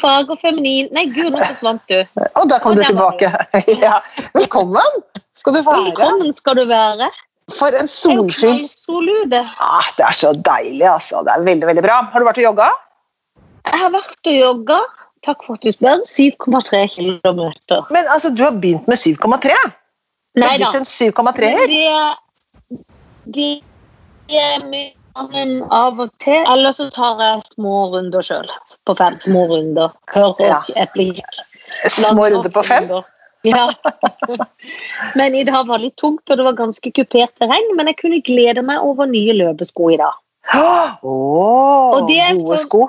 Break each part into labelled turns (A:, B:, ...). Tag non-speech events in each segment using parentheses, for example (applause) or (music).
A: Fag og feminin Nei, gud, nå forsvant du.
B: Og der kom
A: Og
B: du
A: der var
B: tilbake. (laughs) ja. Velkommen skal du få være.
A: Velkommen skal du være.
B: For en
A: Det er jo
B: solfylt
A: knallsolude.
B: ah, Det er så deilig, altså. Det er veldig, veldig bra. Har du vært og jogga?
A: Jeg har vært og jogga. Takk for at du spør. 7,3 km.
B: Men altså, du har begynt med 7,3. Du
A: Nei
B: har
A: da.
B: blitt en 7,3-er.
A: Det, det er mye annet av og til. Eller så tar jeg små runder sjøl. På fem små runder. Hør og
B: Ja.
A: et blikk.
B: Små
A: Lange
B: runder på fem.
A: runder. Ja. (laughs) men i dag var det litt tungt, og det var ganske kupert terreng. Men jeg kunne glede meg over nye løpesko i dag.
B: Åh,
A: Og det er
B: gode
A: så-
B: sko.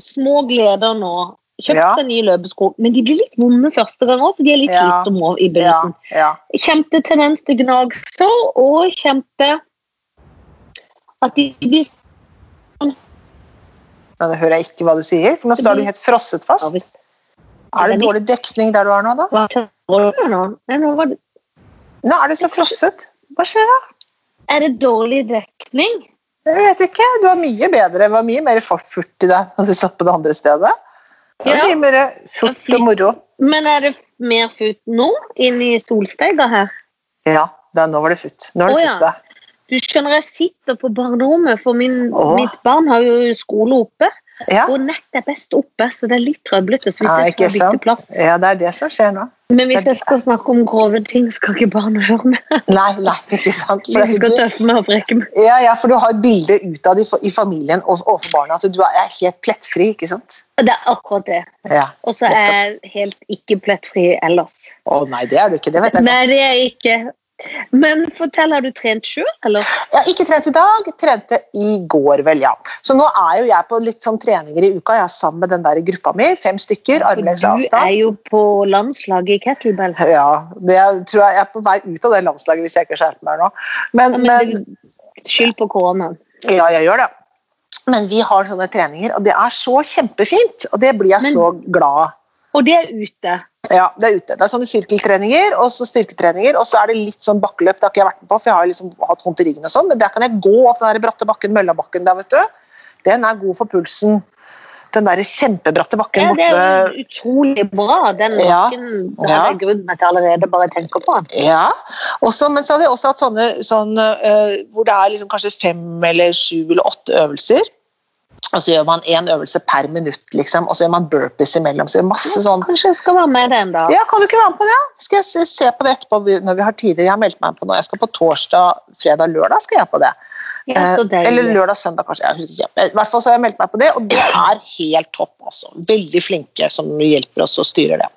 A: små gleder nå. Kjøpt
B: Ja.
A: seg nye løpesko, men de blir litt vonde første gang òg, så de er litt
B: Ja.
A: slitsomme også i
B: Ja,
A: begynnelsen.
B: ja.
A: Kjempetendens til gnagsår, og kjempe At de blir
B: Nå hører jeg ikke hva du sier, for nå står du helt frosset fast. Er det dårlig dekning der du er nå, da?
A: Hva skjer nå? Nei, nå var det...
B: Nå er du så frosset. Hva skjer da?
A: Er det dårlig dekning?
B: Jeg vet ikke. Du var mye bedre. Det var mye mer fart- furt i deg (laughs) da du satt på det andre stedet. Det var
A: Ja.
B: mye mer fort og moro.
A: Men er det mer futt nå, inne i solsteiga her?
B: Ja, da, nå var det futt. Nå er
A: Å,
B: det
A: ja.
B: futt, da.
A: Du skjønner, jeg sitter på barnerommet, for min,
B: Åh.
A: mitt barn har jo skole oppe.
B: Ja.
A: Og nettet er best oppe, så det er litt trøblete. Så vi
B: Ja,
A: kan
B: ikke
A: ikke liksom bytte
B: sant?
A: plass.
B: Ja, det er det som skjer nå. (laughs)
A: Men hvis jeg skal snakke om grove ting, skal ikke barna høre meg.
B: Nei, nei, ikke sant. For
A: Hvis jeg skal
B: du,
A: tøffe meg og brekke meg.
B: ja, ja, for du har et bilde utad i, fa- i familien og overfor barna at du er er helt plettfri, ikke sant?
A: Og Det er akkurat det.
B: Ja.
A: Og så er jeg helt ikke plettfri ellers.
B: Å nei, det er du ikke. Det vet jeg
A: Nei,
B: godt.
A: det er jeg ikke. Men fortell, har du trent sjøl, eller?
B: Jeg har ikke trent i dag, trente i går, vel, ja. Så nå er jo jeg på litt sånn treninger i uka. Jeg er sammen med den der gruppa mi, fem stykker,
A: For
B: armlengdes
A: du
B: avstand.
A: er jo på landslaget i kettlebell.
B: Ja, det er, tror jeg, jeg er på vei ut av det landslaget hvis jeg ikke skjerper meg nå. Men,
A: Ja,
B: men,
A: men du- Skyld på koronaen.
B: ja, jeg gjør det. Men vi har sånne treninger, og det er så kjempefint. Og det blir jeg
A: Men-
B: så glad av.
A: Og det er ute.
B: Ja, det er ute. Det er sånne sirkeltreninger og så styrketreninger, og så er det litt sånn bakkeløp. Det har ikke jeg vært med på, for jeg har liksom hatt vondt i ryggen og sånn, men der kan jeg gå opp den der bratte bakken, Møllabakken der, vet du. Den er god for pulsen. Den der kjempebratte bakken
A: Ja, det er
B: borte
A: jo utrolig bra. Den
B: Ja.
A: bakken har jeg grunn meg til allerede, bare jeg tenker på den.
B: Ja, også, men så har vi også hatt sånne, sånn, eh, hvor det er liksom kanskje fem eller sju eller åtte øvelser. Og så gjør man én øvelse per minutt, liksom, og så gjør man burpees imellom. så gjør masse sånn.
A: Kanskje jeg skal være med den, da.
B: Ja, Kan du ikke være med på det? Skal jeg se- se på det etterpå vi- når vi har tider? Jeg har meldt meg på nå. Jeg skal på torsdag, fredag, lørdag. skal jeg på det.
A: Ja, så
B: Eh, Eller
A: deilig.
B: lørdag, søndag, kanskje. Jeg husker ikke. Eh, I hvert fall så har jeg meldt meg på det, og det er helt topp. altså. Veldig flinke som hjelper oss og styrer det.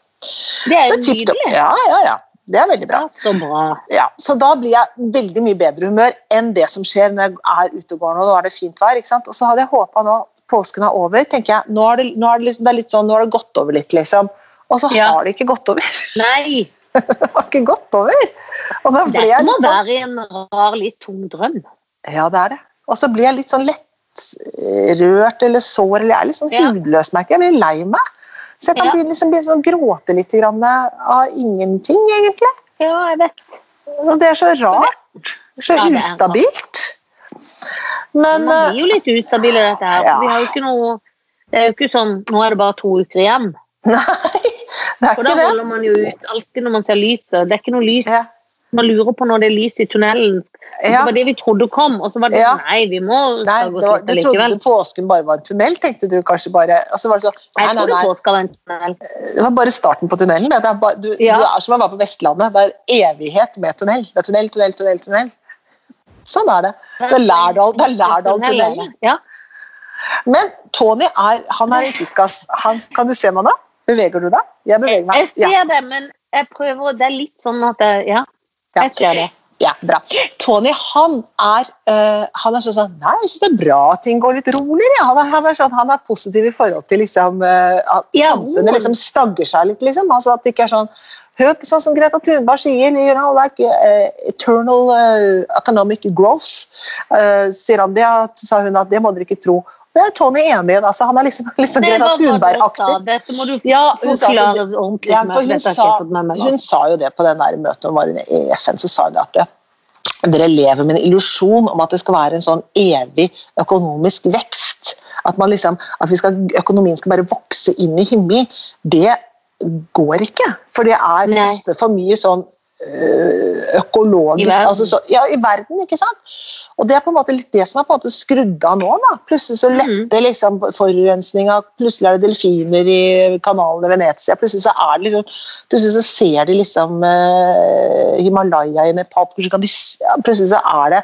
A: Det er jo
B: Så tipp topp.
A: nydelig.
B: Ja, ja, ja. Det er veldig bra.
A: Ja, så bra.
B: Ja, så da blir jeg veldig mye bedre humør enn det som skjer når jeg er ute og går nå. Nå er det fint vær, ikke sant. Og så hadde jeg håpa nå, påsken er over, tenker jeg. Nå er det, nå er det, liksom, det er litt sånn, nå har det gått over litt, liksom. Og så
A: Ja.
B: har det ikke gått over. (laughs)
A: Nei,
B: Det har ikke gått over. Og da
A: det
B: ble jeg
A: må
B: litt sånn
A: være en rar, litt tung drøm.
B: Ja, det er det. Og så blir jeg litt sånn lettrørt eller sår, eller jeg er litt sånn
A: Ja.
B: hudløs, merker jeg. Jeg blir lei meg. Så jeg kan
A: Ja.
B: bli, liksom, bli sånn, gråte litt grann av ingenting, egentlig.
A: Ja, jeg vet.
B: Og det er så rart. Så
A: Ja, det er rart.
B: ustabilt. Men eh,
A: Man blir jo litt ustabil i dette her.
B: Ja.
A: Vi har jo ikke noe Det er jo ikke sånn nå er det bare to uker igjen.
B: eh, Nei, det er
A: For da
B: ikke det.
A: holder man jo ut alltid når man ser lyset. Det er ikke noe lys.
B: Ja.
A: Man lurer på når det er lys i tunnelen. Det
B: Ja.
A: var det vi trodde kom, og så var det
B: Ja.
A: sånn Nei, vi må
B: Nei,
A: sage
B: det var,
A: oss
B: du
A: litt
B: trodde
A: likevel.
B: påsken bare var en tunnel, tenkte du kanskje bare. Og så var det sånn Nei,
A: Jeg
B: nei,
A: trodde
B: nei.
A: på skal være en tunnel.
B: Det var bare starten på tunnelen. Det Det er bare, du,
A: Ja.
B: du er som å være på Vestlandet. Det er evighet med tunnel. Det er tunnel, tunnel, tunnel. tunnel. Sånn er det. Det er Lærdal- det er Lærdal-tunnelen.
A: Ja.
B: Men Tony er, han er en kikkas. Han, kan du se meg nå? Beveger du deg? Jeg beveger
A: Jeg
B: meg. Ja,
A: ser det, men jeg prøver å Det er litt sånn at jeg Ja,
B: Ja.
A: jeg ser det.
B: ja, bra. Tony han er, eh, han er sånn sånn Nei, jeg syns det er bra at ting går litt roligere. ja. Han er, han er, sånn, han er positiv i forhold til liksom, eh, at
A: Ja,
B: samfunnet liksom stagger seg litt. Liksom. Altså At det ikke er sånn Hør på sånn som Greta Thunberg sier, you know, like eh, eternal eh, economic growth. eh, sier han det, at- sa hun at det må dere ikke tro. Det er Tony enig i. Altså, han er liksom, (laughs) liksom
A: Det
B: Greta
A: var hva du sa.
B: Thunberg-aktig.
A: Dette må du
B: Ja, hun sa
A: forklare
B: det.
A: ordentlig.
B: Ja,
A: for meg, dette har
B: for hun,
A: ikke jeg
B: sa,
A: fått med meg.
B: hun sa jo det på den der møtet hun var i i FN, så sa hun det at det, dere lever med en illusjon om at det skal være en sånn evig økonomisk vekst. At, man liksom, at vi skal, økonomien skal bare vokse inn i himmelen. Det går ikke. For det er
A: Nei.
B: koster for mye sånn øh, økologisk
A: I verden.
B: altså så, Ja, i verden, ikke sant? Og det er på en måte litt det som er på en måte skrudd av nå. da. Plutselig så letter liksom forurensninga, plutselig er det delfiner i kanalen i Venezia. Plutselig så er det liksom Plutselig så ser de liksom eh, Himalaya i Nepal. Plutselig, kan de, s- ja, plutselig så er det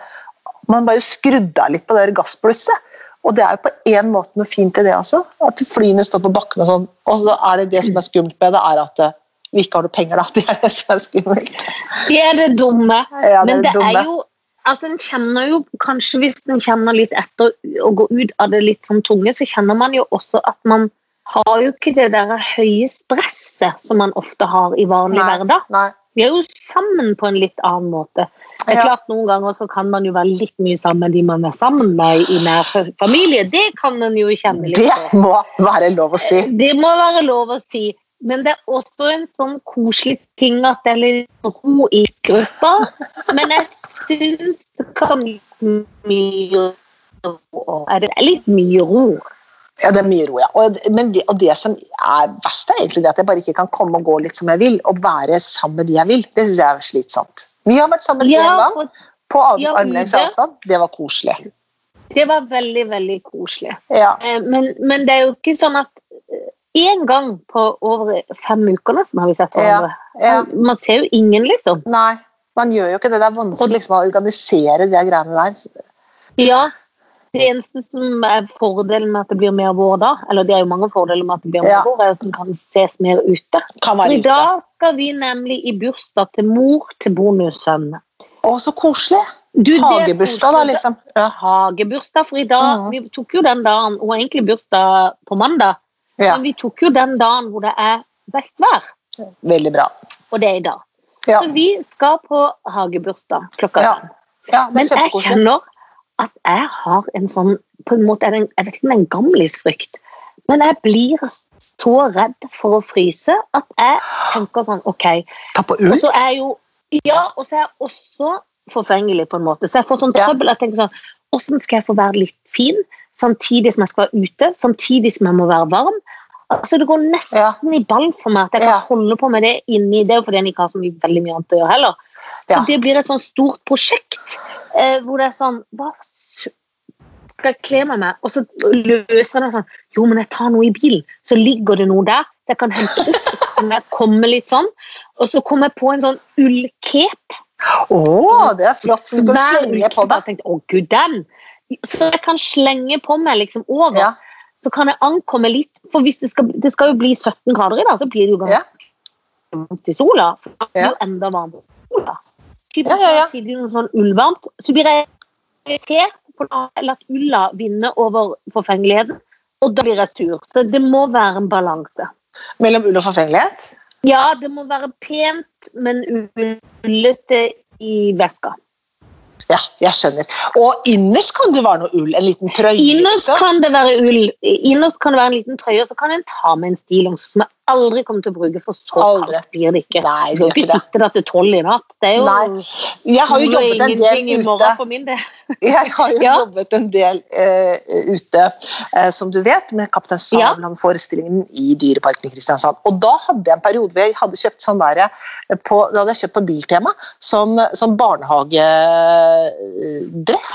B: Man bare skrudde av litt på det der gassblusset. Og det er jo på en måte noe fint i det også. At flyene står på bakken og sånn. Og så er det det som er skummelt med det, er at eh, vi ikke har noe penger, da. (laughs) Det er det som er skummelt.
A: Det er det dumme.
B: Ja, det er
A: Men det
B: det dumme.
A: er jo Altså, en kjenner jo, Kanskje hvis en kjenner litt etter og går ut av det litt sånn tunge, så kjenner man jo også at man har jo ikke det der høye stresset som man ofte har i vanlig
B: Nei.
A: hverdag.
B: Nei.
A: Vi er jo sammen på en litt annen måte. Det er
B: Ja.
A: klart Noen ganger så kan man jo være litt mye sammen med de man er sammen med i nær familie. Det kan en jo kjenne litt
B: Det
A: på.
B: må være lov å si.
A: Det må være lov å si. Men det er også en sånn koselig ting at det er litt ro i gruppa. Men jeg syns det kan bli mye ro. Er det litt mye ro?
B: Ja, det er mye ro, ja. Og, men det, og det som er verst, er egentlig det at jeg bare ikke kan komme og gå litt som jeg vil, og være sammen med de jeg vil. Det syns jeg er slitsomt. Vi har vært sammen én
A: Ja,
B: gang,
A: for
B: på av-
A: ja,
B: armlengdes
A: det-
B: avstand. Det var koselig.
A: det var veldig, veldig koselig.
B: Ja.
A: Eh, men, men det er jo ikke sånn at eh, én gang på over fem uker nesten har vi sett hverandre.
B: ja.
A: Man ser jo ingen, liksom.
B: Nei, man gjør jo ikke det. Det er vanskelig liksom, å organisere de greiene der.
A: Ja. Det eneste som er fordelen med at det blir mer vår da, eller det er jo mange fordeler med at det blir mer
B: Ja.
A: vår, er jo at den kan ses mer ute.
B: Kan
A: For
B: være
A: i
B: ute.
A: dag skal vi nemlig i bursdag til mor til bonussønnen.
B: Å, så koselig!
A: Du, det er
B: Hagebursdag, da,
A: koselig.
B: liksom. Ja.
A: Hagebursdag, for i dag
B: Mhm.
A: Vi tok jo den dagen, og egentlig bursdag på mandag,
B: ja.
A: men vi tok jo den dagen hvor det er best vær,
B: Veldig bra.
A: og det er i dag.
B: Ja.
A: Så vi skal på hagebursdag klokka
B: Ja,
A: fem.
B: ja det
A: Men
B: er
A: jeg
B: kjempekoselig.
A: kjenner at jeg har en sånn på en måte, er det en, Jeg vet ikke om det er en gamlisfrykt, men jeg blir så redd for å fryse at jeg tenker sånn OK.
B: Ta på
A: Og
B: ull?
A: så er jeg jo Ja, og så er jeg også forfengelig, på en måte. Så jeg får sånn
B: Ja.
A: trøbbel. Jeg tenker sånn Åssen skal jeg få være litt fin samtidig som jeg skal være ute, samtidig som jeg må være varm? Altså, det går nesten
B: Ja.
A: i ball for meg at jeg
B: Ja.
A: kan holde på med det inni Det er jo fordi en ikke har så mye, veldig mye annet å gjøre heller.
B: Ja.
A: Så det blir et sånn stort prosjekt eh, hvor det er sånn Hva s- skal jeg kle meg med? Og så løser det sånn Jo, men jeg tar noe i bilen. Så ligger det noe der. Så jeg kan hente opp. så Kan jeg komme litt sånn? Og så kom jeg på en sånn ullcape.
B: Å, det er flott! Så du skal
A: Svær
B: slenge på
A: ullcape.
B: deg.
A: Jeg tenkte, å gud, den! Så jeg kan slenge på meg liksom over.
B: Ja.
A: Så kan jeg ankomme litt. For hvis det skal, det skal jo bli 17 grader i dag, så blir det jo ganske
B: Ja.
A: varmt i sola. For det blir
B: Ja.
A: jo enda varmere i sola. Typisk
B: Ja, ja, ja.
A: sier de noe sånn ullvarmt. Så blir jeg irritert, for da har jeg latt ulla vinne over forfengeligheten. Og da blir jeg sur. Så det må være en balanse.
B: Mellom ull og forfengelighet?
A: Ja, det må være pent, men ullete i veska.
B: Ja, jeg skjønner. Og innerst kan det være noe ull. En liten trøye.
A: Innerst
B: liksom.
A: kan det være ull, innerst kan det være en liten trøye, og så kan en ta med en stillongs som jeg aldri kommer til å bruke, for så
B: Aldri.
A: kaldt blir det ikke.
B: Nei,
A: Du skal
B: det
A: ikke
B: gjør ikke det.
A: sitte der til tolv i natt. Det er jo
B: Nei. Jeg har jo
A: Nå er
B: jobbet en
A: ingenting i
B: del ute.
A: morgen for min del.
B: (laughs) Jeg har jo
A: Ja.
B: jobbet en del eh, ute, eh, som du vet, med Kaptein Sabeltann-forestillingen i Dyreparken i Kristiansand. Og da hadde jeg en periode hvor jeg hadde kjøpt sånn der, eh, på, da hadde jeg kjøpt på Biltema, sånn, sånn barnehagedress.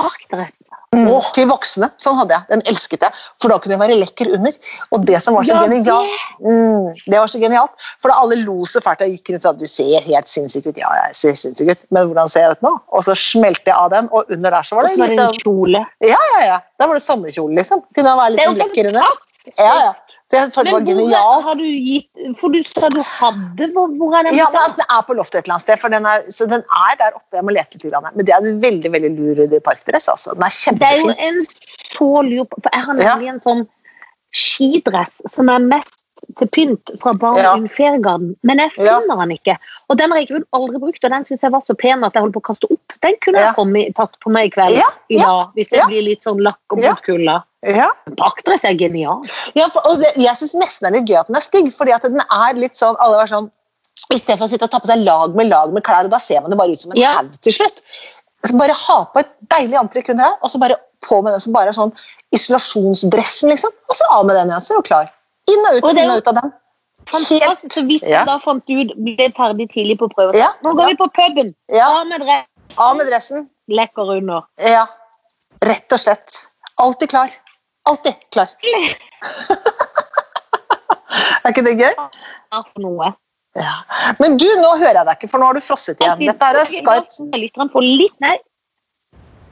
A: Parkdress.
B: Mm. Til voksne. Sånn hadde jeg. Den elsket jeg. For da kunne jeg være lekker under. Og det som var så
A: Ja, det-
B: genialt mm, Det var så genialt. For da alle lo så fælt jeg gikk rundt og sa du ser helt sinnssyk ut. Ja, jeg ser sinnssyk ut, men hvordan ser jeg ut nå? Og så smelte jeg av den, og under der så
A: Og
B: var det
A: så var det en
B: liksom
A: kjole.
B: Ja, ja, ja. Der var det sommerkjole, liksom. Kunne jeg være
A: Det er jo
B: litt lekker under.
A: fantastisk!
B: Ja, ja. Det jeg følte
A: Men
B: var
A: hvor
B: genialt.
A: har du gitt For du sa du hadde Hvor, hvor er den?
B: Ja, men altså, Den er på loftet et eller annet sted, for den er, så den er der oppe. Jeg må lete litt. grann. Men det er en veldig veldig lur parkdress. altså. Den er
A: Det er jo
B: kjempefin.
A: en så lur For jeg har
B: Ja.
A: nemlig en sånn skidress som er mest til pynt fra Barn
B: Ja.
A: under feriegarden, men jeg
B: Ja.
A: finner den ikke. Og den har jeg kun aldri brukt, og den syns jeg var så pen at jeg holdt på å kaste opp. Den kunne
B: Ja.
A: jeg komme, i- tatt på meg i kveld,
B: Ja,
A: i dag, hvis det
B: ja.
A: blir litt sånn lakk og
B: Ja.
A: bruskulla.
B: Ja.
A: Bakdress er genial.
B: Ja, for, og det, jeg syns nesten det er litt gøy at den er stygg, fordi at den er litt sånn alle var sånn, I stedet for å sitte og ta på seg lag med lag med klær, og da ser man det bare ut som en
A: Ja.
B: haug til slutt. så bare ha på et deilig antrekk under her, og så bare på med den som bare er sånn isolasjonsdressen, liksom. Og så av med den igjen, så er du klar. Inn og ut,
A: Og det er
B: inn og ut av den.
A: Fantastisk. Så hvis
B: Ja.
A: du da fant ut ble ferdig tidlig på prøven
B: Ja,
A: Nå går
B: ja.
A: vi på puben!
B: Ja,
A: Av med dress,
B: av med dressen.
A: lekker under.
B: Ja. Rett og slett. Alltid klar. Alltid
A: (laughs)
B: klar. (laughs) er ikke det gøy?
A: Her for noe.
B: Ja. Men du, nå hører jeg deg ikke, for nå har du frosset igjen. Dette her er
A: Ok,
B: skarpt.
A: nå skal lytteren få litt Nei.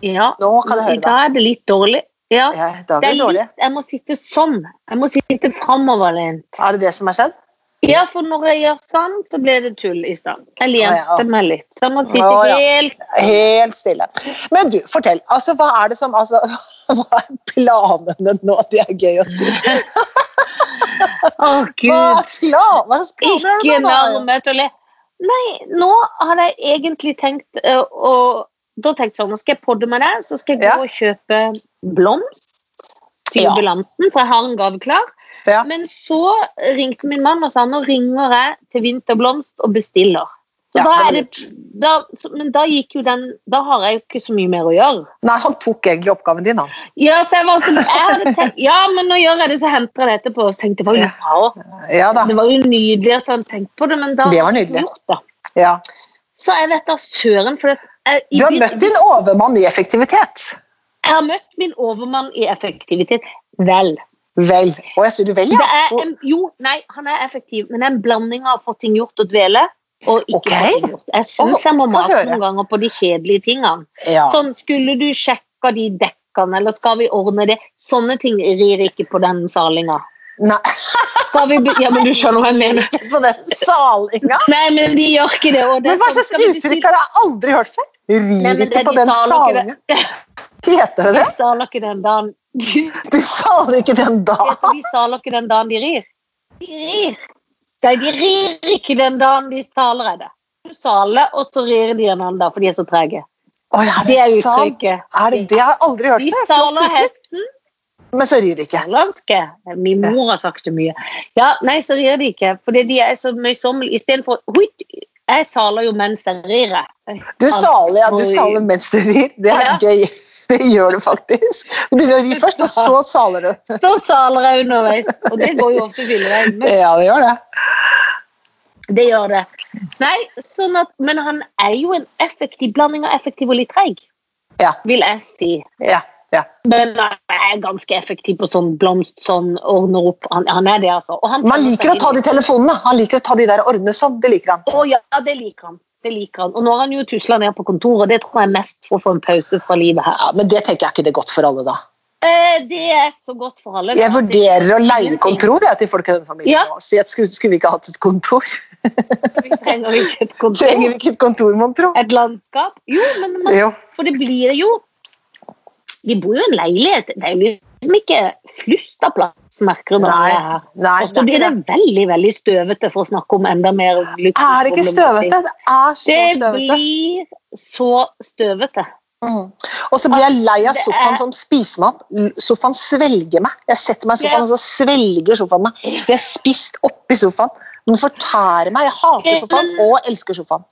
A: Ja,
B: Nå kan jeg
A: i
B: høre deg.
A: dag er det litt dårlig. Ja,
B: Ja, I dag
A: det
B: er
A: er
B: det dårlig.
A: litt, jeg må sitte sånn. Jeg må sitte framoverlent.
B: Er det det som har skjedd?
A: Ja, for når jeg gjør sånn, så blir det tull i stand. Jeg
B: Å, ja.
A: lente meg litt. Så jeg må sitte
B: Å, ja.
A: helt
B: Helt stille. Men du, fortell. Altså, hva er det som altså, (laughs) Hva er planene nå? Det er gøy å si.
A: Å,
B: Hva
A: gud.
B: er plan- hva slags planer har
A: Ikke
B: du nå, da?
A: nærme til å le. Nei, nå har jeg egentlig tenkt eh, å Da tenkte jeg sånn, nå skal jeg podde med deg, så skal jeg gå
B: Ja.
A: og kjøpe blomst til
B: Ja.
A: jubilanten, for jeg har en gave klar.
B: Ja.
A: Men så ringte min mann og sa nå ringer jeg til Vinterblomst og bestiller. Så
B: Ja,
A: da
B: det
A: er det, da, så- men da gikk jo den Da har jeg jo ikke så mye mer å gjøre.
B: Nei, han tok egentlig oppgaven din, han.
A: Ja, så jeg var sånn, jeg hadde tenkt, ja men nå gjør jeg det, så henter jeg det etterpå. Og så tenkte jeg, det var jo bra.
B: Ja da.
A: Det var jo nydelig at han tenkte på det, men da
B: Det
A: har
B: var
A: jeg ikke
B: nydelig.
A: gjort det.
B: Ja.
A: Så jeg vet da søren, for at jeg, i
B: Du har
A: begynnelsen-
B: møtt din overmann i effektivitet.
A: jeg har møtt min overmann i effektivitet. Vel.
B: Vel. Og jeg sier du vel,
A: Det
B: ja.
A: er en, jo, nei, han er effektiv, men det er en blanding av å få ting gjort og dvele. Og ikke
B: Ok.
A: få ting gjort. Jeg syns
B: Å,
A: jeg må
B: få
A: mase
B: høre.
A: noen ganger på de kjedelige tingene.
B: ja.
A: Sånn, skulle du sjekka de dekkene, eller skal vi ordne det? Sånne ting rir ikke på den salinga.
B: Nei, (laughs)
A: Skal vi be- Ja, men du skjønner hva jeg mener.
B: ikke på
A: (laughs)
B: den salinga.
A: Nei, men de gjør ikke det. Og det er
B: Men hva
A: sånn,
B: slags
A: skal vi bestille-
B: uttrykk har jeg aldri hørt før?
A: Nei,
B: Rir
A: men
B: ikke
A: det-
B: på
A: de
B: den
A: saler ikke
B: salinga. (laughs) Heter det det?
A: (laughs) De saler ikke den dagen. De
B: Du saler ikke den da?
A: Heter de saler ikke den dagen de rir? De rir. Nei, de rir ikke den dagen de saler er det. Du saler, og så rir de en annen dag, for de er så trege.
B: Å, ja,
A: Det er
B: sal?
A: uttrykket.
B: Er det, det har jeg aldri hørt
A: De
B: før. Flott
A: saler
B: uttrykk.
A: hesten.
B: Men så rir det ikke.
A: Salanske. Min mor har sagt det mye. Ja, nei, så rir de ikke, fordi de er så møysommelige. Istedenfor Huit! Jeg saler jo mens jeg rir. jeg.
B: Du saler, ja, du saler mens du rir. Det er
A: Ja.
B: gøy. (laughs) Det gjør du faktisk. Du begynner å ri først, og så saler du.
A: Så saler jeg underveis, og det går jo ofte filleveien. Men
B: Ja, det gjør det.
A: Det gjør det. Nei, sånn at, men han er jo en effektiv blanding av effektiv og litt treig,
B: Ja.
A: vil jeg si.
B: Ja, ja.
A: Men han er ganske effektiv på sånn blomst, sånn ordner opp. Han, han er det, altså. Og han
B: Man liker å ta de telefonene. Han liker å ta de der og ordne sånn. Det liker han.
A: Å ja, det liker han. Det liker han. Og nå har han jo tusla ned på kontoret, det tror jeg er mest for å få en pause fra livet her.
B: Ja, Men det tenker jeg ikke det er godt for alle, da.
A: Eh, det er så godt for alle.
B: Jeg vurderer å leie kontor jeg, til folk i den familien.
A: Ja.
B: nå, og Si at skulle, skulle vi ikke hatt et
A: (laughs)
B: kontor?
A: Vi trenger ikke
B: (laughs)
A: et kontor.
B: Trenger vi ikke et kontor, mon tro?
A: Et landskap. Jo, men man
B: Jo.
A: For det blir jo Vi bor jo i en leilighet. Det er jo liksom ikke flust av plass, merker du. når
B: Nei,
A: det er her.
B: nei.
A: Og så blir det veldig veldig støvete, for å snakke om enda mer luksus-
B: Er det ikke støvete? Det er så
A: Det
B: støvete.
A: blir så støvete.
B: Mm. Og så blir jeg lei av
A: Det
B: sofaen
A: er-
B: som spisemann. L- Sofaen svelger meg. Jeg setter meg i sofaen,
A: Ja.
B: og så svelger sofaen meg. For jeg er spist oppi sofaen. Den fortærer meg. Jeg hater
A: Eh, Men-
B: sofaen og elsker sofaen.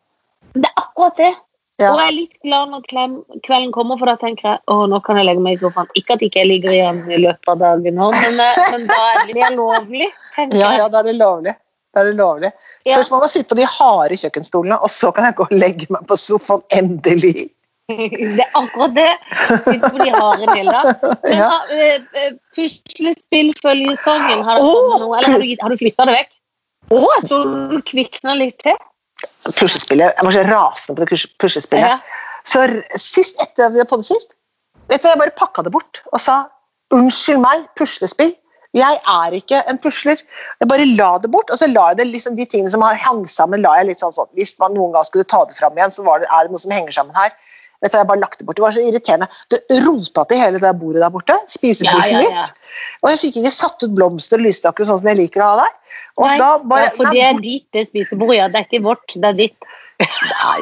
A: Det er akkurat det.
B: Ja.
A: Og jeg er litt glad når klem, kvelden kommer, for da tenker jeg å, nå kan jeg legge meg i sofaen. Ikke at ikke jeg ligger igjen i løpet av dagen, nå, men, eh, men da blir jeg lovlig. tenker
B: Ja,
A: jeg.
B: ja, da er det lovlig. Da er det lovlig.
A: Ja.
B: Først må man sitte på de harde kjøkkenstolene, og så kan jeg gå og legge meg på sofaen. Endelig.
A: (laughs) Det er akkurat det. Sitter på de harde deler. Men
B: Ja.
A: har, eh, eh, Puslespillføljetongen, har, det
B: Åh!
A: kommet noe, eller har du, gitt- har du flytta det vekk? Å, jeg så du kvikna litt til.
B: Puslespillet. Jeg var så rasende på det kus- puslespillet.
A: Ja.
B: Så r- sist etter vi hadde poddet sist, vet du hva, jeg bare pakka det bort og sa unnskyld meg, puslespill. Jeg er ikke en pusler. Jeg bare la det bort. Og så la jeg det liksom de tingene som har hang sammen, la jeg litt sånn sånn. Hvis man noen gang skulle ta det fram igjen, så var det, er det noe som henger sammen her. Vet du, hva, jeg bare lagt Det bort. Det var så irriterende. Det rota til hele det bordet der borte. Spisebordet
A: Ja, ja, ja.
B: mitt. Og jeg fikk ikke satt ut blomster og lysstaker sånn som jeg liker å ha der. Og
A: Nei,
B: da bare
A: ja, for det er ditt, det spisebordet. Ja. Det er ikke vårt, det er ditt.
B: Nei, (laughs)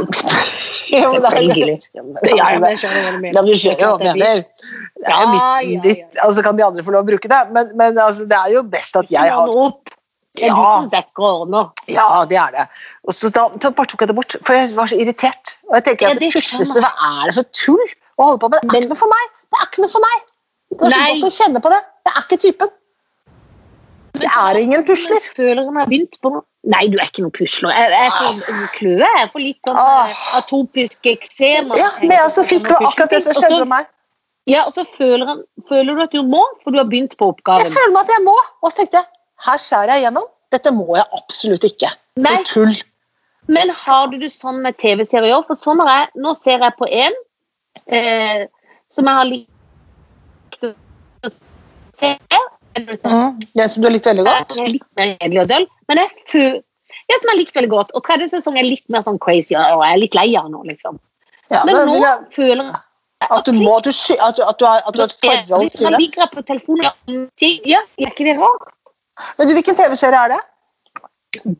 B: jo, det er-
A: Selvfølgelig. Ja, ja, men jeg skjønner hva du
B: Ja,
A: mener.
B: men du skjønner jo hva
A: Det er
B: jeg mener. Det er jo
A: Ja,
B: mitt,
A: ja, ja.
B: mitt, altså kan de andre få lov å bruke det, men, men altså, det er jo best at jeg har
A: Noen opp. Det er
B: Ja.
A: du som dekker ordner.
B: Ja, det er det. Og så da, da bare tok jeg det bort, for jeg var så irritert. Og jeg tenker
A: Ja,
B: at
A: det
B: puslespill,
A: skjønner
B: hva er det for tull å holde på med? Det er ikke noe for meg! Det er ikke noe for meg! Det var så
A: Nei.
B: godt å kjenne på det. Jeg er ikke typen. Det er ingen pusler.
A: Jeg føler hun har begynt på noe. Nei, du er ikke noen pusler. Jeg, jeg får en kløe. Jeg får litt sånn
B: Ah.
A: eh, atopisk eksem.
B: Ja, men jeg så fikk det var akkurat det som skjedde med meg.
A: Ja, og så føler, han, føler du at du må, for du har begynt på
B: Jeg
A: oppgaven.
B: føler meg at jeg må, og så tenkte jeg her skjærer jeg igjennom. Dette må jeg absolutt ikke. Det
A: Nei,
B: er tull.
A: men har du det sånn med TV-serier òg? For sånn har jeg Nå ser jeg på en eh, som jeg har likt å se.
B: Mm. Den som du liker veldig godt.
A: Som er litt mer kjedelig og døll, men jeg føler ja, som jeg likte veldig godt. Og tredje sesong er litt mer sånn crazy, og jeg er litt lei av den nå, liksom.
B: Ja,
A: Men
B: det
A: nå
B: vil jeg,
A: føler jeg
B: at du må, at du, sky- at du, at du, har, at du har et forhold
A: Hvis man
B: til det. sånn-
A: ligger på telefonen og gjør andre ting, ja, er ikke det rart?
B: Men du, hvilken TV-serie er det?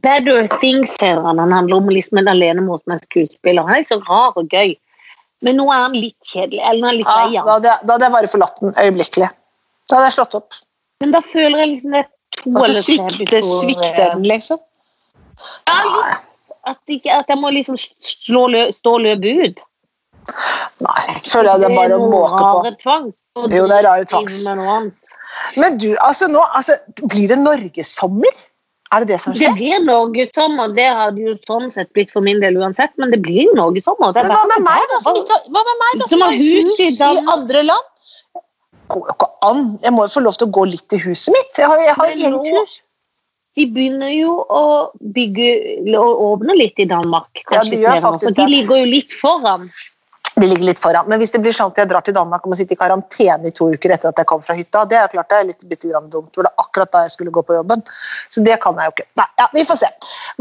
A: Better Things heter han. Han handler om liksom en alenemor som er skuespiller. Han er litt så rar og gøy. Men nå er han litt kjedelig. Eller nå er han litt
B: Ja,
A: lei
B: Ah, da,
A: av han.
B: hadde jeg, da hadde jeg bare forlatt den øyeblikkelig. Da hadde jeg slått opp.
A: Men da føler jeg liksom det er to
B: At du
A: eller tre
B: svikter, svikter den, liksom.
A: Ja, litt. At, ikke, at jeg må liksom slå lø, stå løp ut.
B: Nei, føler jeg det er bare å måke på.
A: Rare tvangs. Og
B: Jo, det er rare
A: drive
B: tvangs.
A: med noe annet.
B: Men du, altså nå altså, Blir det norgessommer? Er det det som
A: Det
B: skjer?
A: blir norgessommer. Det hadde jo sånn sett blitt for min del uansett, men det blir jo norgessommer. Det er
B: Men hva
A: bare-
B: med meg, da? Som ikke, har- hva med meg, da,
A: Som har hus i Danmark.
B: andre land? Det går jo ikke an. Jeg må jo få lov til å gå litt i huset mitt. Jeg har, jeg har
A: Men
B: eget
A: nå-
B: hus.
A: De begynner jo å bygge og åpne litt i Danmark.
B: Ja, de
A: kanskje
B: gjør
A: flere nå,
B: faktisk
A: for De
B: det.
A: ligger jo litt foran.
B: Det ligger litt foran. Men hvis det blir sånn at jeg drar til Danmark og må sitte i karantene i to uker etter at jeg kom fra hytta, det er klart det er litt bitte grann dumt. For det er akkurat da jeg skulle gå på jobben. Så det kan jeg jo ikke. Nei, ja, vi får se.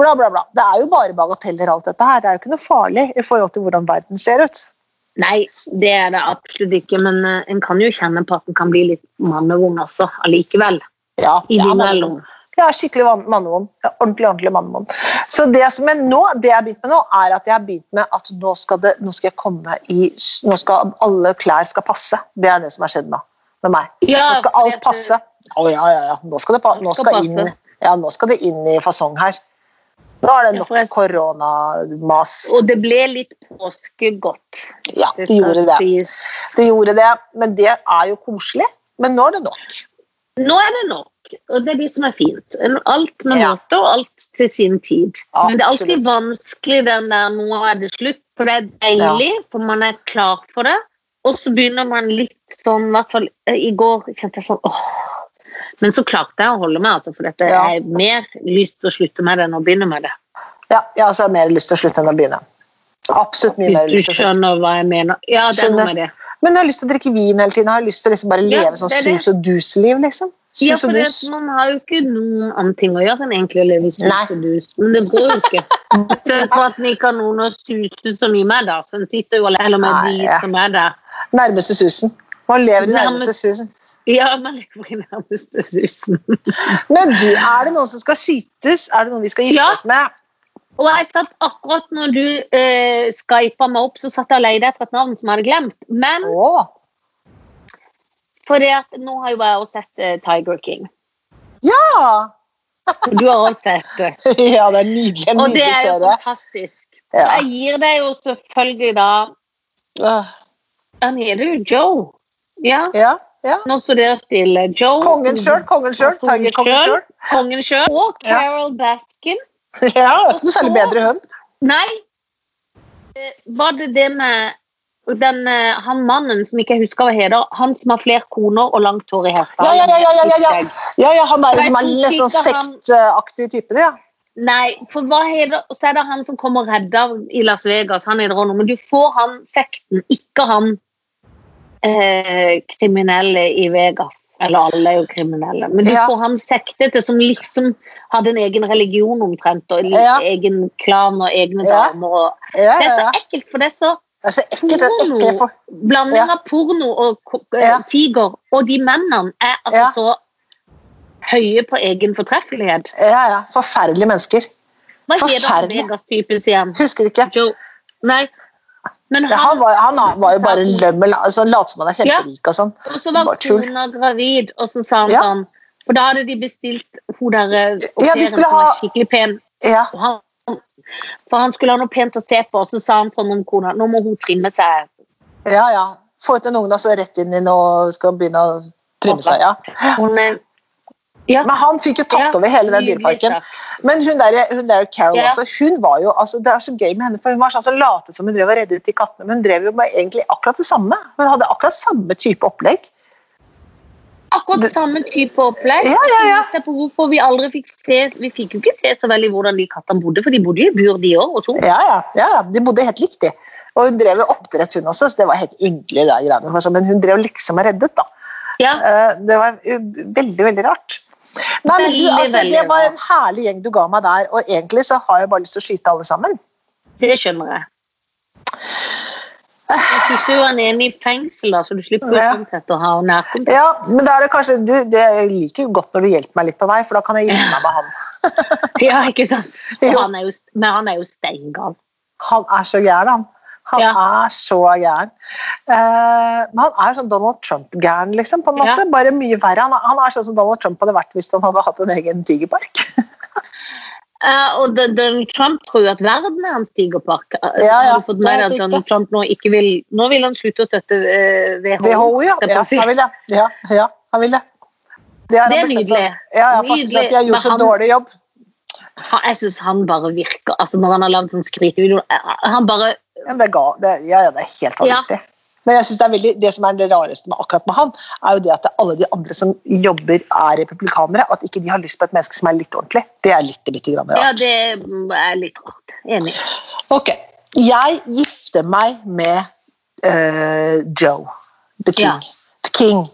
B: Bla, bla, bla. Det er jo bare bagateller alt dette her. Det er jo ikke noe farlig i forhold til hvordan verden ser ut.
A: Nei, det er det absolutt ikke, men eh, en kan jo kjenne på at en kan bli litt mannevond også, allikevel.
B: Ja, jeg er
A: Innimellom.
B: mannevond. Jeg er skikkelig van- mannevond. Jeg er Ordentlig, ordentlig mannevond. Så det som jeg nå, det jeg har begynt med nå, er at jeg har begynt med at nå skal, det, nå skal jeg komme i Nå skal alle klær skal passe. Det er det som har skjedd nå med meg.
A: Ja,
B: Nå skal alt passe. Å ja, ja, ja. Nå skal det, pa nå
A: Alt skal
B: skal inn,
A: passe.
B: ja, nå skal det inn i fasong her. Nå er det
A: Ja,
B: nok
A: for jeg-
B: koronamas.
A: Og det ble litt påskegodt.
B: Ja, det gjorde det. Det gjorde det, men det er jo koselig. Men nå er det nok.
A: Nå er det nok, og det er det som er fint. En- Alt med
B: Ja.
A: måte og alt til sin tid. Men det er
B: Absolutt.
A: alltid vanskelig den der 'nå er det slutt', for det er deilig, for man er klar for det. Og så begynner man litt sånn, i hvert fall eh, i går kjente jeg sånn åh. Men så klarte jeg å holde meg, altså, for dette
B: Ja.
A: er mer lyst til å slutte med det enn å begynne med det.
B: Ja, jeg altså har mer lyst til å slutte enn å begynne. Absolutt mye mer
A: Hvis du
B: lyst til å slutte.
A: skjønner hva jeg mener. Ja, det er
B: Skjønner.
A: noe med det.
B: Men jeg har lyst til å drikke vin hele tiden. Jeg har lyst til å liksom bare
A: Ja,
B: leve sånn
A: det er det.
B: sus og dus-liv, liksom. Sus
A: Ja, for
B: og
A: det,
B: dus.
A: man har jo ikke noen annen ting å gjøre enn egentlig å leve i sus
B: Nei.
A: og dus. Men det går jo ikke. Bortsett fra at den ikke har noen å suse så mye med, da. Så den sitter jo alene med
B: Nei,
A: de
B: ja.
A: som er der.
B: Nærmeste susen. Man lever i
A: Nærmest-
B: nærmeste susen.
A: Ja, man lever i nærmeste susen.
B: Men du, er det noen som skal skytes? Er det noen vi skal gifte
A: Ja.
B: oss med?
A: Og jeg satt akkurat når du eh, skypa meg opp, så satt jeg og leide etter et navn som jeg hadde glemt. Men
B: Åh.
A: fordi at nå har jo jeg også sett eh, Tiger King.
B: Ja.
A: Du har også sett det.
B: (laughs) ja, det er nydelig. En
A: Og det
B: nydelig
A: er jo
B: serie.
A: fantastisk. Så
B: Ja.
A: jeg gir deg jo selvfølgelig da
B: Øh,
A: Han heter jo Joe. Ja.
B: Ja, ja.
A: Nå står det stille. Joe
B: Kongen sjøl, kongen sjøl.
A: Kongen
B: Tigerkongen
A: selv.
B: sjøl.
A: Kongen selv, Og
B: Ja.
A: Carol Baskin.
B: (laughs) Ja, det er ikke noe særlig bedre hun.
A: Nei, eh, var det det med den, eh, han mannen som ikke jeg husker hva heter, han som har flere koner og langt hår i
B: Ja,
A: hestehalen?
B: ja, ja, ja, ja, ja, ja. ja, ja han er
A: Jeg
B: liksom en
A: tror
B: litt sånn
A: ikke han-
B: sektaktig type, det, ja.
A: Nei, for hva heter Og så er det han som kommer og redder i Las Vegas. Han heter også noe, men du får han sekten, ikke han eh, kriminelle i Vegas. Eller alle er jo kriminelle, men du
B: Ja.
A: får han sektete som liksom hadde en egen religion omtrent, og en
B: Ja.
A: egen klan og egne
B: Ja.
A: damer og
B: ja,
A: Det
B: ja,
A: er så
B: ja.
A: ekkelt, for det er så
B: Det er så ekkelt. Det er
A: Porno.
B: ekkelt for...
A: blanding
B: Ja.
A: av porno og ko- eh,
B: Ja.
A: tiger, og de mennene er altså
B: Ja.
A: så høye på egen fortreffelighet.
B: Ja, ja. Forferdelige mennesker.
A: Hva heter han
B: Forferdelig.
A: Vegas-typen igjen?
B: Husker ikke.
A: Joe. Nei. Men
B: Ja, han,
A: han,
B: var, han var jo bare lømmel. Altså, Late som han er kjemperik og sånn.
A: og så var
B: bare tull.
A: kona gravid, og så sa han
B: Ja.
A: sånn For da hadde de bestilt hun der eh, au
B: Ja, de
A: pairen
B: skulle
A: som
B: ha-
A: var skikkelig pen.
B: Ja.
A: Og han, for han skulle ha noe pent å se på, og så sa han sånn om kona Nå må hun trimme seg.
B: Ja, ja. Få ut den ungen altså, rett inn i nå skal begynne å trimme seg. ja.
A: Hun er ja,
B: Men han fikk jo tatt
A: ja,
B: over hele den
A: nydelig
B: dyreparken.
A: sak.
B: Men hun der, hun der Carol
A: Ja.
B: også, hun var jo, altså, det er så gøy med henne, for hun var sånn som latet som hun drev og reddet de kattene, men hun drev jo med egentlig akkurat det samme. Hun hadde akkurat samme type opplegg.
A: Akkurat samme type opplegg.
B: Ja, ja, ja.
A: Jeg lurer på Hvorfor vi aldri fikk se Vi fikk jo ikke se så veldig hvordan de kattene bodde, for de bodde jo i bur, de òg. Og så
B: Ja, ja, ja, ja. De bodde helt likt, de. Og hun drev jo oppdrett, hun også, så det var helt yndelig, det greiene. for sånn, Men hun drev liksom og reddet, da.
A: ja,
B: Eh, Det var jo veldig, veldig rart. Nei, men du,
A: Veldig,
B: altså,
A: veldig
B: Det var
A: rart.
B: en herlig gjeng du ga meg der, og egentlig så har jeg bare lyst til å skyte alle sammen.
A: det skjønner jeg. Jeg sitter jo han ene i fengsel, da, så du slipper jo
B: Ja.
A: sånn sett å ha nærkontakt.
B: Ja, men da er det kanskje, du, det jeg liker jo godt når du hjelper meg litt på vei, for da kan jeg hjelpe meg med han.
A: Ja, ikke sant? Og
B: Jo.
A: (laughs) han er jo, men han er jo steingal.
B: Han er så gæren, han. Han er så gæren. Eh, men han er sånn Donald Trump-gæren, liksom, på en måte. Bare mye verre. Han, er- han er sånn som Donald Trump hadde vært hvis han hadde hatt en egen tigerpark.
A: Eh, og Don- Donald Trump tror jo at verden er hans tigerpark. Eh,
B: Ja, ja,
A: Har du fått med
B: det er
A: deg at
B: riktig.
A: Donald Trump nå ikke vil Nå vil han slutte å støtte eh, WHO.
B: WHO, ja.
A: skal jeg
B: ja.
A: bare si.
B: Han vil det. Ja, ja, han vil det. har
A: Det er
B: han bestemt
A: nydelig.
B: seg- Ja, ja, for jeg synes
A: Nydelig,
B: at de har gjort
A: men
B: en
A: han-
B: dårlig jobb.
A: Han- Jeg syns han bare virker altså Når han har lagd sånn skrytevideo eh, Han bare
B: Ja, men det er gal, det, ja, ja, det er helt vanvittig. Men jeg synes det, er veldig, det som er det rareste med akkurat med han, er jo det at det er alle de andre som jobber, er republikanere. At ikke de har lyst på et menneske som er litt ordentlig. Det er litt, litt grann
A: Ja,
B: rart.
A: det er litt rart. Enig.
B: Ok, jeg gifter meg med eh, Joe, the king.
A: Ja.
B: The king.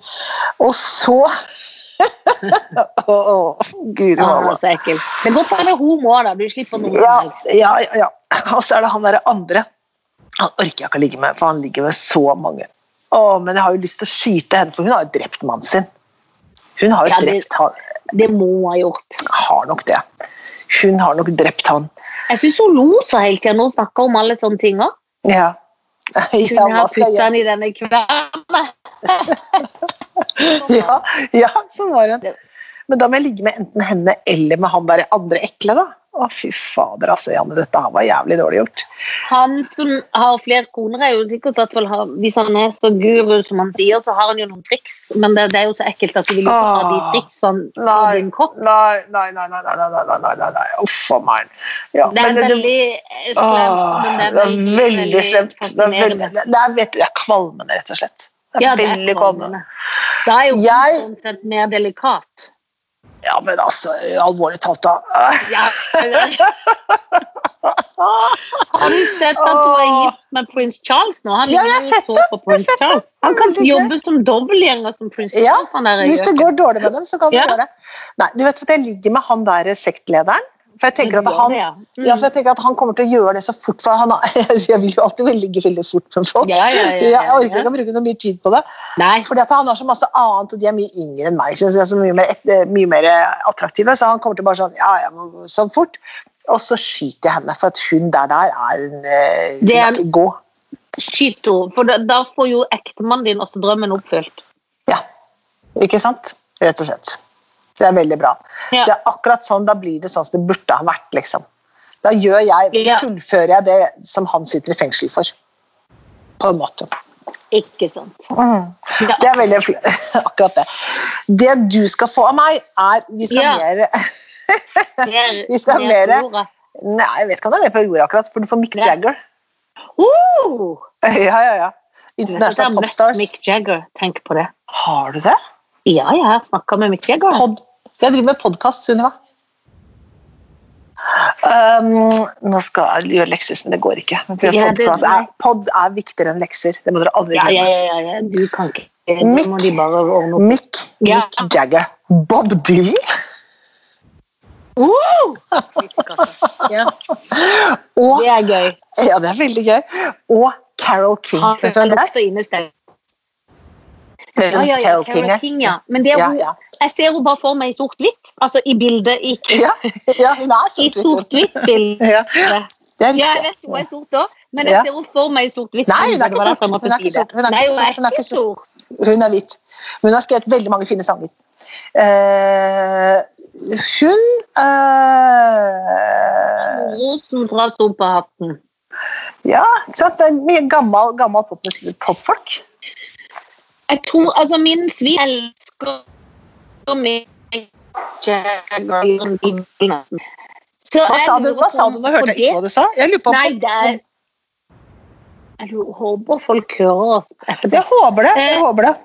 B: Og så (laughs) Å, å, guri
A: Ja, altså, han er
B: malla.
A: så ekkel. Det går på en homo, da. Du slipper noe.
B: Ja, ja, ja, ja. Og så er det han derre andre. Han orker jeg ikke å ligge med, for han ligger med så mange. Å, men jeg har jo lyst til å skyte henne, for hun har jo drept mannen sin. Hun har jo
A: Ja, det-
B: drept han.
A: Det må hun ha gjort.
B: Har nok det. Hun har nok drept han.
A: Jeg syns hun lo så hele tida når hun snakka om alle sånne ting òg.
B: Ja. (laughs) Ja,
A: Kunne
B: hva
A: ha
B: skal
A: putta
B: jeg?
A: den i denne
B: (laughs)
A: kvermen.
B: ja, ja, sånn var hun. Men da må jeg ligge med enten henne eller med han der andre ekle, da. Å, fy fader, altså, Janne, dette her var jævlig dårlig gjort.
A: (laughs) Han som har flere koner, er jo sikkert at vel har, hvis han er så guru som han sier, så har han jo noen triks, men det, det er jo så ekkelt at du vil jo ikke ha de
B: Åh.
A: triksene på
B: Ah, Nei.
A: din kropp.
B: Nei, nei, nei, nei, nei, nei, nei, nei, nei, nei. uff a meg.
A: Det
B: Ja,
A: er
B: men det- Ah,
A: veldig eh, slemt, men det er veldig, veldig
B: slemt. Det er, veldig,
A: fascinerende.
B: det, er, vet, du, det er kvalmende, rett og slett. Det er
A: Ja, det er
B: veldig kvalmende.
A: kvalmende. Da er jo
B: Jeg-
A: sånn sett mer delikat.
B: Ja, men altså, alvorlig talt, da.
A: Ja. Har du sett at hun er gift med prins Charles nå? Han
B: Ja, jeg har
A: ligner jo
B: sett
A: så på prins Charles. Han kan
B: Veldig gøy.
A: jobbe som dobbeltgjenger som prins
B: Ja,
A: Charles. Han der
B: Hvis det
A: gjøken.
B: går dårlig med dem, så kan det
A: Ja.
B: gjøre det. Nei, du vet at jeg ligger med han der sektlederen. For jeg
A: Men
B: tenker
A: du
B: at
A: gjør
B: han
A: det, ja. Mm.
B: ja, for jeg tenker at han kommer til å gjøre det så fort. For han, er- (laughs) jeg vil jo alltid vil ligge veldig fort med folk.
A: Mm. Ja, ja, ja, ja,
B: Jeg orker
A: ja.
B: ikke å bruke noe mye tid på det.
A: Nei.
B: Fordi at han har så masse annet, og de er mye yngre enn meg. Synes jeg, så mye mer, et, mye mer attraktive, så han kommer til bare sånn, ja, ja, men sånn fort. Og så skyter jeg henne, for at hun der der er en eh, hun
A: Det er-
B: er ikke god.
A: Skyt henne, for da, da får jo ektemannen din også drømmen oppfylt.
B: Ja, ikke sant? Rett og slett. Det er veldig bra.
A: Ja.
B: Det er akkurat sånn, da blir det sånn som det burde ha vært, liksom. Da gjør jeg,
A: Ja.
B: fullfører jeg det som han sitter i fengsel for. På en måte.
A: Ikke sant? Ja.
B: Det er veldig fl- (laughs) akkurat det. Det du skal få av meg, er Vi skal
A: Ja.
B: mer
A: Mer-
B: Vi skal ha
A: mer
B: mere.
A: jorda.
B: Nei, jeg vet ikke om det er mer på jorda akkurat, for du får Mick
A: Ja.
B: Jagger. (laughs)
A: Oh!
B: Ja, ja, ja.
A: Du vet at jeg har
B: International
A: møtt
B: Popstars.
A: Mick Jagger, tenk på det.
B: Har du det?
A: Ja, jeg har snakka med Mick Jagger.
B: Pod jeg driver med podkast, Sunniva. Um, nå skal jeg gjøre lekser, men det går ikke.
A: Ja, det-
B: Podcast er, pod er viktigere enn lekser. Det må dere aldri
A: Ja, ja, ja,
B: glemme.
A: ja, ja. Du kan ikke Det
B: Mick-
A: må de bare ordne opp.
B: Mick,
A: Ja.
B: Mick Jagger. Bob Dylan
A: Oh! Ja,
B: og
A: det er gøy.
B: Ja, det er veldig gøy. Og Carol King.
A: Han
B: Vet du hvem det er?
A: lukter innestengt.
B: Vet du
A: Ja,
B: hvem
A: ja, ja.
B: Carole
A: Carole
B: er?
A: King, ja. Men det er
B: Ja,
A: hun,
B: ja. (laughs)
A: jeg ser henne bare for meg i sort-hvitt. Altså i bildet. Ikke
B: Ja, ja, hun er
A: i
B: sånn. litt-
A: sort-hvitt-bildet.
B: Ja, det er
A: Ja, jeg
B: riktig.
A: vet hun er sort òg, men jeg
B: Ja.
A: ser henne for meg i sort-hvitt.
B: Nei, hun er ikke
A: Det var derfor jeg
B: sort.
A: måtte
B: Hun er
A: si
B: ikke
A: det.
B: sort. Hun er
A: Nei,
B: ikke
A: hun er
B: sort. Hun er
A: ikke
B: ikke
A: sort.
B: Hun er hvit. Hun har skrevet veldig mange fine sanger. Eh, hun eh,
A: Rosen fra Sopahatten.
B: Ja, ikke sant? Det er mye gammel, gammel popmus- popfolk.
A: Jeg tror altså min svin elsker meg Jagger Iron Beagle. Så
B: Hva
A: jeg
B: sa du,
A: lurer
B: hva sa
A: på
B: du
A: om-
B: nå? Hørte
A: for
B: jeg ikke hva du sa? Jeg lurer på
A: Nei, det er Jeg lurer- håper folk hører oss etterpå.
B: Jeg håper det. jeg
A: Eh.
B: håper det.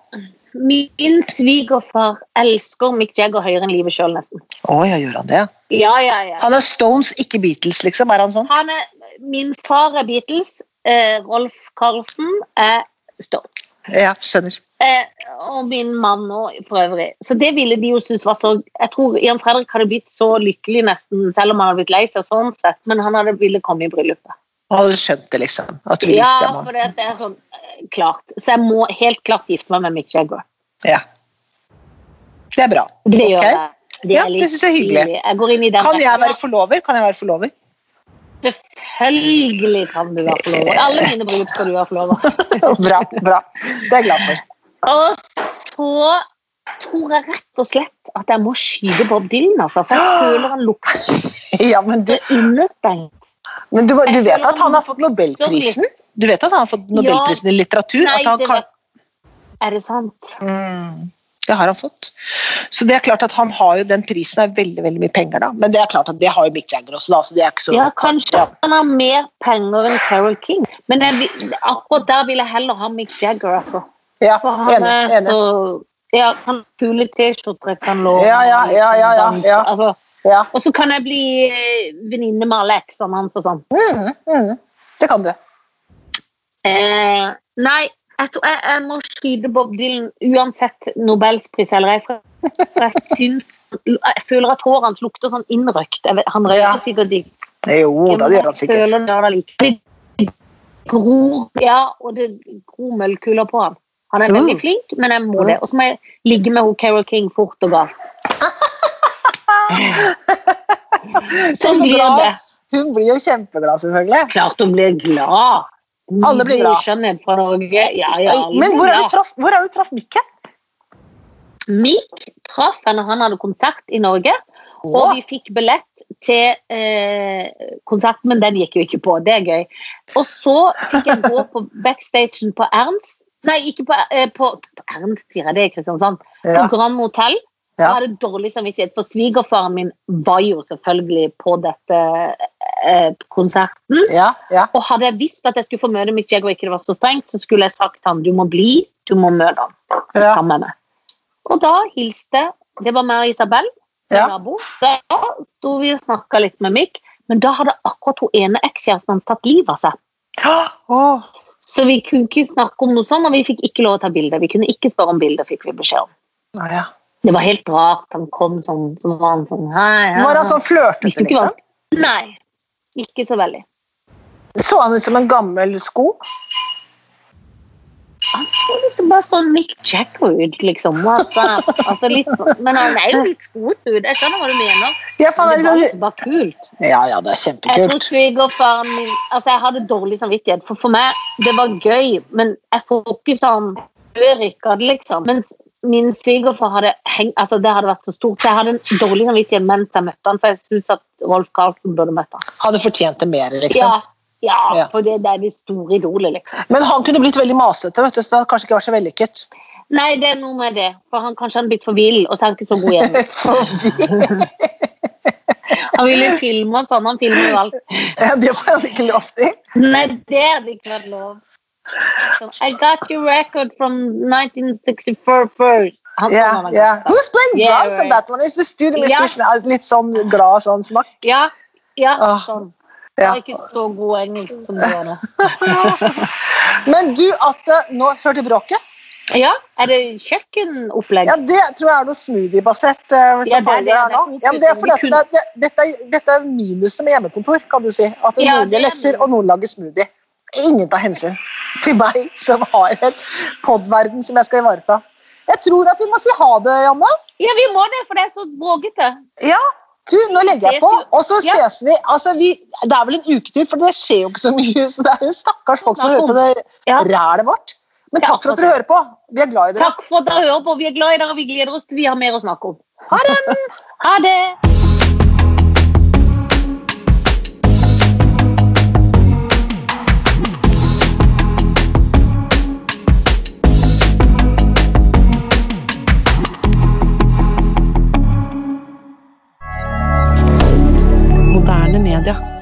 A: Min svigerfar elsker Mick Jagger høyere enn livet sjøl, nesten.
B: Å, ja, gjør han det?
A: Ja, ja, ja.
B: Han er Stones, ikke Beatles, liksom. Er han sånn?
A: Han er, min far er Beatles. Eh, Rolf Carlsen er Stone.
B: Ja, skjønner.
A: Eh, og min mann òg, for øvrig. Så det ville de jo synes var så Jeg tror Jan Fredrik hadde blitt så lykkelig, nesten, selv om han hadde blitt lei seg, sånn sett, men han hadde ville komme i bryllupet.
B: Han hadde skjønt det, liksom. At du
A: Ja,
B: likte ham.
A: for det er sånn eh, klart. Så jeg må helt klart gifte meg med Mick Jagger.
B: Ja. Det er bra.
A: Det gjør
B: Ok.
A: jeg. Det
B: Ja,
A: er
B: det
A: litt
B: synes jeg er hyggelig.
A: tidlig. Jeg går inn i den
B: Kan jeg
A: retningen.
B: være forlover? Kan jeg være forlover?
A: Selvfølgelig kan du være forlover. I alle mine bryllup skal du være forlover.
B: (laughs) bra. bra. Det er jeg glad for.
A: Og så tror jeg rett og slett at jeg må skyte Bob Dylan, altså. For jeg føler han lukter
B: Ja, men du,
A: understengt.
B: men du, du
A: Jeg
B: vet
A: føler
B: at han har fått Nobelprisen? Du vet at han har fått Nobelprisen i litteratur?
A: Nei,
B: at han
A: det
B: kan...
A: var Er det sant?
B: Mm, det har han fått. Så det er klart at han har jo, den prisen er veldig veldig mye penger, da. Men det er klart at det har jo Mick Jagger også, da. Så det er ikke så
A: Ja, kanskje han har mer penger enn Carol King. Men jeg, vil- akkurat der vil jeg heller ha Mick Jagger, altså.
B: Ja,
A: For han
B: enig.
A: er
B: enig.
A: så Ja, han har kule T-skjorter jeg kan låne.
B: Ja, ja, ja, ja, ja, ja.
A: Altså,
B: Ja.
A: og så kan jeg bli eh, venninne med alle eksene hans og sånn.
B: Mm, mm. Det kan du.
A: Eh, nei, jeg, tror jeg, jeg må skyte Bob Dylan uansett Nobelspris eller ei. For for jeg, syns, jeg føler at håret hans lukter sånn innrøkt. Jeg vet, han røyker
B: Ja.
A: sikkert ikke.
B: Jo da, det gjør han
A: Jeg
B: sikkert.
A: føler det da like. Det gror, ja, og det gror møllkuler på ham. Han er
B: Mm.
A: veldig flink, men jeg må
B: Mm.
A: det. Og så må jeg ligge med hun Carol King fort og galt.
B: Så
A: Sånn blir
B: glad.
A: det.
B: Hun blir jo kjempeglad, selvfølgelig.
A: Klart hun blir glad.
B: Alle blir glad.
A: Nydelig Skjønnhet fra Norge. Ja, ja, alle
B: Men
A: blir
B: hvor er
A: glad.
B: du traff, hvor er du traff Mikke?
A: Mick traff henne når han hadde konsert i Norge, og vi fikk billett til eh, konsert, men den gikk jo ikke på. Det er gøy. Og så fikk jeg gå
B: (laughs)
A: på backstagen på Ernst Nei, ikke på, eh, på, på Ernst, sier jeg det, er Kristiansand. På
B: Ja.
A: Grand Hotell.
B: Ja.
A: Jeg hadde dårlig samvittighet, for svigerfaren min var jo selvfølgelig på dette eh, konserten.
B: Ja, ja.
A: Og hadde jeg visst at jeg skulle få møte Mick Jagger, og ikke det var så strengt, så skulle jeg sagt han, du må bli, du må møte han.
B: Ja.
A: Sammen med. Og da hilste, det var meg og Isabel, min
B: Ja.
A: nabo. Da sto vi og snakket litt med Mick, men da hadde akkurat hun ene ekskjæresten hans tatt livet av seg.
B: Åh,
A: Så vi kunne ikke snakke om noe sånt, og vi fikk ikke lov å ta bilder. Vi kunne ikke spørre om bilder, fikk vi beskjed om.
B: ja, ja.
A: Det var helt rart, han kom sånn, så var han sånn, hei, hei.
B: Var han sånn
A: Visste
B: flørtete,
A: ikke hva
B: liksom?
A: han- Nei, ikke så veldig.
B: Så han ut som en gammel sko?
A: Han så liksom bare sånn Mick Jagger ut, liksom. What the- Altså, litt sånn. Men han er jo litt skot ut. Jeg skjønner hva du mener.
B: Ja, for han
A: Men
B: er
A: det var, altså
B: liksom...
A: det var kult.
B: ja, ja, det er
A: Jeg tror
B: kjempekult.
A: svigerfaren min Altså, jeg hadde dårlig samvittighet, for for meg det var gøy, men jeg får ikke sånn Gjør ikke det, liksom. Mens min svigerfar hadde heng, altså det hadde vært så stort. Så jeg hadde en dårlig samvittighet mens jeg møtte han, for jeg syns at Rolf Carlsen burde møtt han.
B: Hadde fortjent det mer, liksom.
A: Ja, ja,
B: Ja.
A: for det, det er det store idolet, liksom.
B: Men han kunne blitt veldig masete, vet du, så det hadde kanskje ikke vært så vellykket.
A: (laughs) Nei, det er noe med det. For han kanskje han er blitt for vill, og så er han ikke så god hjemme. Han ville filme og sånn. Han filmer jo alt.
B: Ja, det får han ikke lov til.
A: Nei, det hadde ikke vært lov. Sånn, I got your record from 1964 first. Han,
B: Ja,
A: sånn han hadde
B: ja.
A: sagt.
B: Who's playing
A: Yeah,
B: drums on
A: right.
B: that one? Is the studio
A: Ja.
B: musician? Er Litt sånn glad sånn snakk.
A: ja, ja,
B: Ah,
A: sånn.
B: ja.
A: (laughs) Var ikke så god engelsk som du var nå. ah.
B: (laughs) Men du, Atte, nå hørte du bråket?
A: Ja, er det kjøkkenopplegg?
B: Ja, det tror jeg er noe smoothie-basert.
A: Ja,
B: eh,
A: det er
B: som foregår
A: det,
B: her
A: det er
B: nå.
A: kokos,
B: Ja, men det er
A: men
B: fordi
A: vi
B: at det, det, dette, er- dette er minuset med hjemmekontor, kan du si. At
A: Ja,
B: noen
A: det
B: gjør
A: er
B: lekser,
A: minus.
B: og noen lager smoothie. Ingen tar hensyn til meg som har en podverden som jeg skal ivareta. Jeg tror at vi må si ha det, Janne.
A: Ja, vi må det, for det er så bråkete.
B: Ja, du, nå legger jeg på, og så
A: Ja.
B: ses vi. Altså, vi det er vel en uke til, for det skjer jo ikke så mye. Så det er jo stakkars folk som hører på det
A: Ja.
B: rælet vårt. Men takk for at dere hører på. Vi er glad i dere.
A: Takk for at dere hører på. Vi er glad i dere, vi gleder oss til vi har mer å snakke om.
B: Ha det!
A: Ha det!
C: Moderne media.